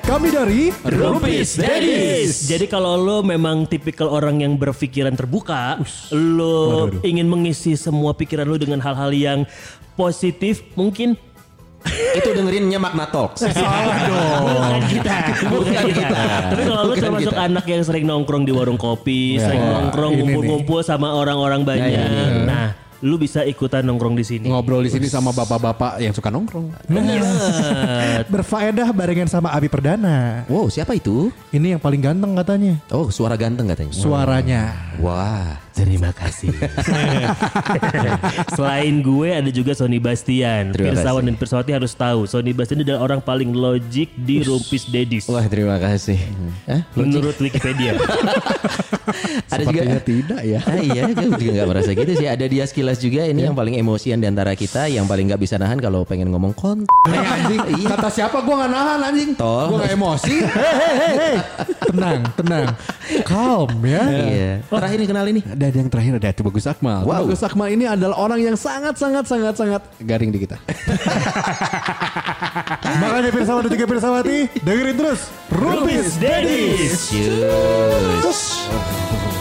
Kami dari Rumpis Daddies. Jadi kalau lo memang tipikal orang yang berpikiran terbuka, lo Waduh, waduh. ingin mengisi semua pikiran lo dengan hal-hal yang positif, mungkin Itu dengerinnya Magna Talks. Salah dong. bukan kita, bukan kita. Tapi kalau lo Bukan termasuk kita. anak yang sering nongkrong di warung kopi, Ya. sering nongkrong Ini nih. ngumpul-ngumpul sama orang-orang banyak, nah lo bisa ikutan nongkrong di sini. Ngobrol di sini sama bapak-bapak yang suka nongkrong. Banget. Berfaedah barengan sama Abi Perdana. Wow, siapa itu? Ini yang paling ganteng katanya. Oh, suara ganteng katanya. Suaranya. Wah. Terima kasih. Selain gue ada juga Sony Bastian. Terima Pirsawan kasih. dan Pirsawati harus tahu Sony Bastian adalah orang paling logik di Rumpis Dedis. Wah, terima kasih. Mm-hmm. Hah? Menurut Wikipedia. Ada juga Sepertinya tidak ya. Iya. Ah, iya, gue juga gak merasa gitu sih. Ada dia sekilas juga ini yang paling emosian di antara kita, yang paling gak bisa nahan kalau pengen ngomong kont. Eh, anjing, kata siapa gue gak nahan anjing. Tol. Gue gak emosi. Tenang, tenang. Calm ya. Iya. Terakhir nih kenal ini. Dan yang terakhir ada Tubagus Akmal. Wow. Tubagus Akmal ini adalah orang yang sangat-sangat-sangat-sangat garing di kita. Makanya Pirsawan dan juga Pirsawati dengerin terus Rubis Daddies. Cus.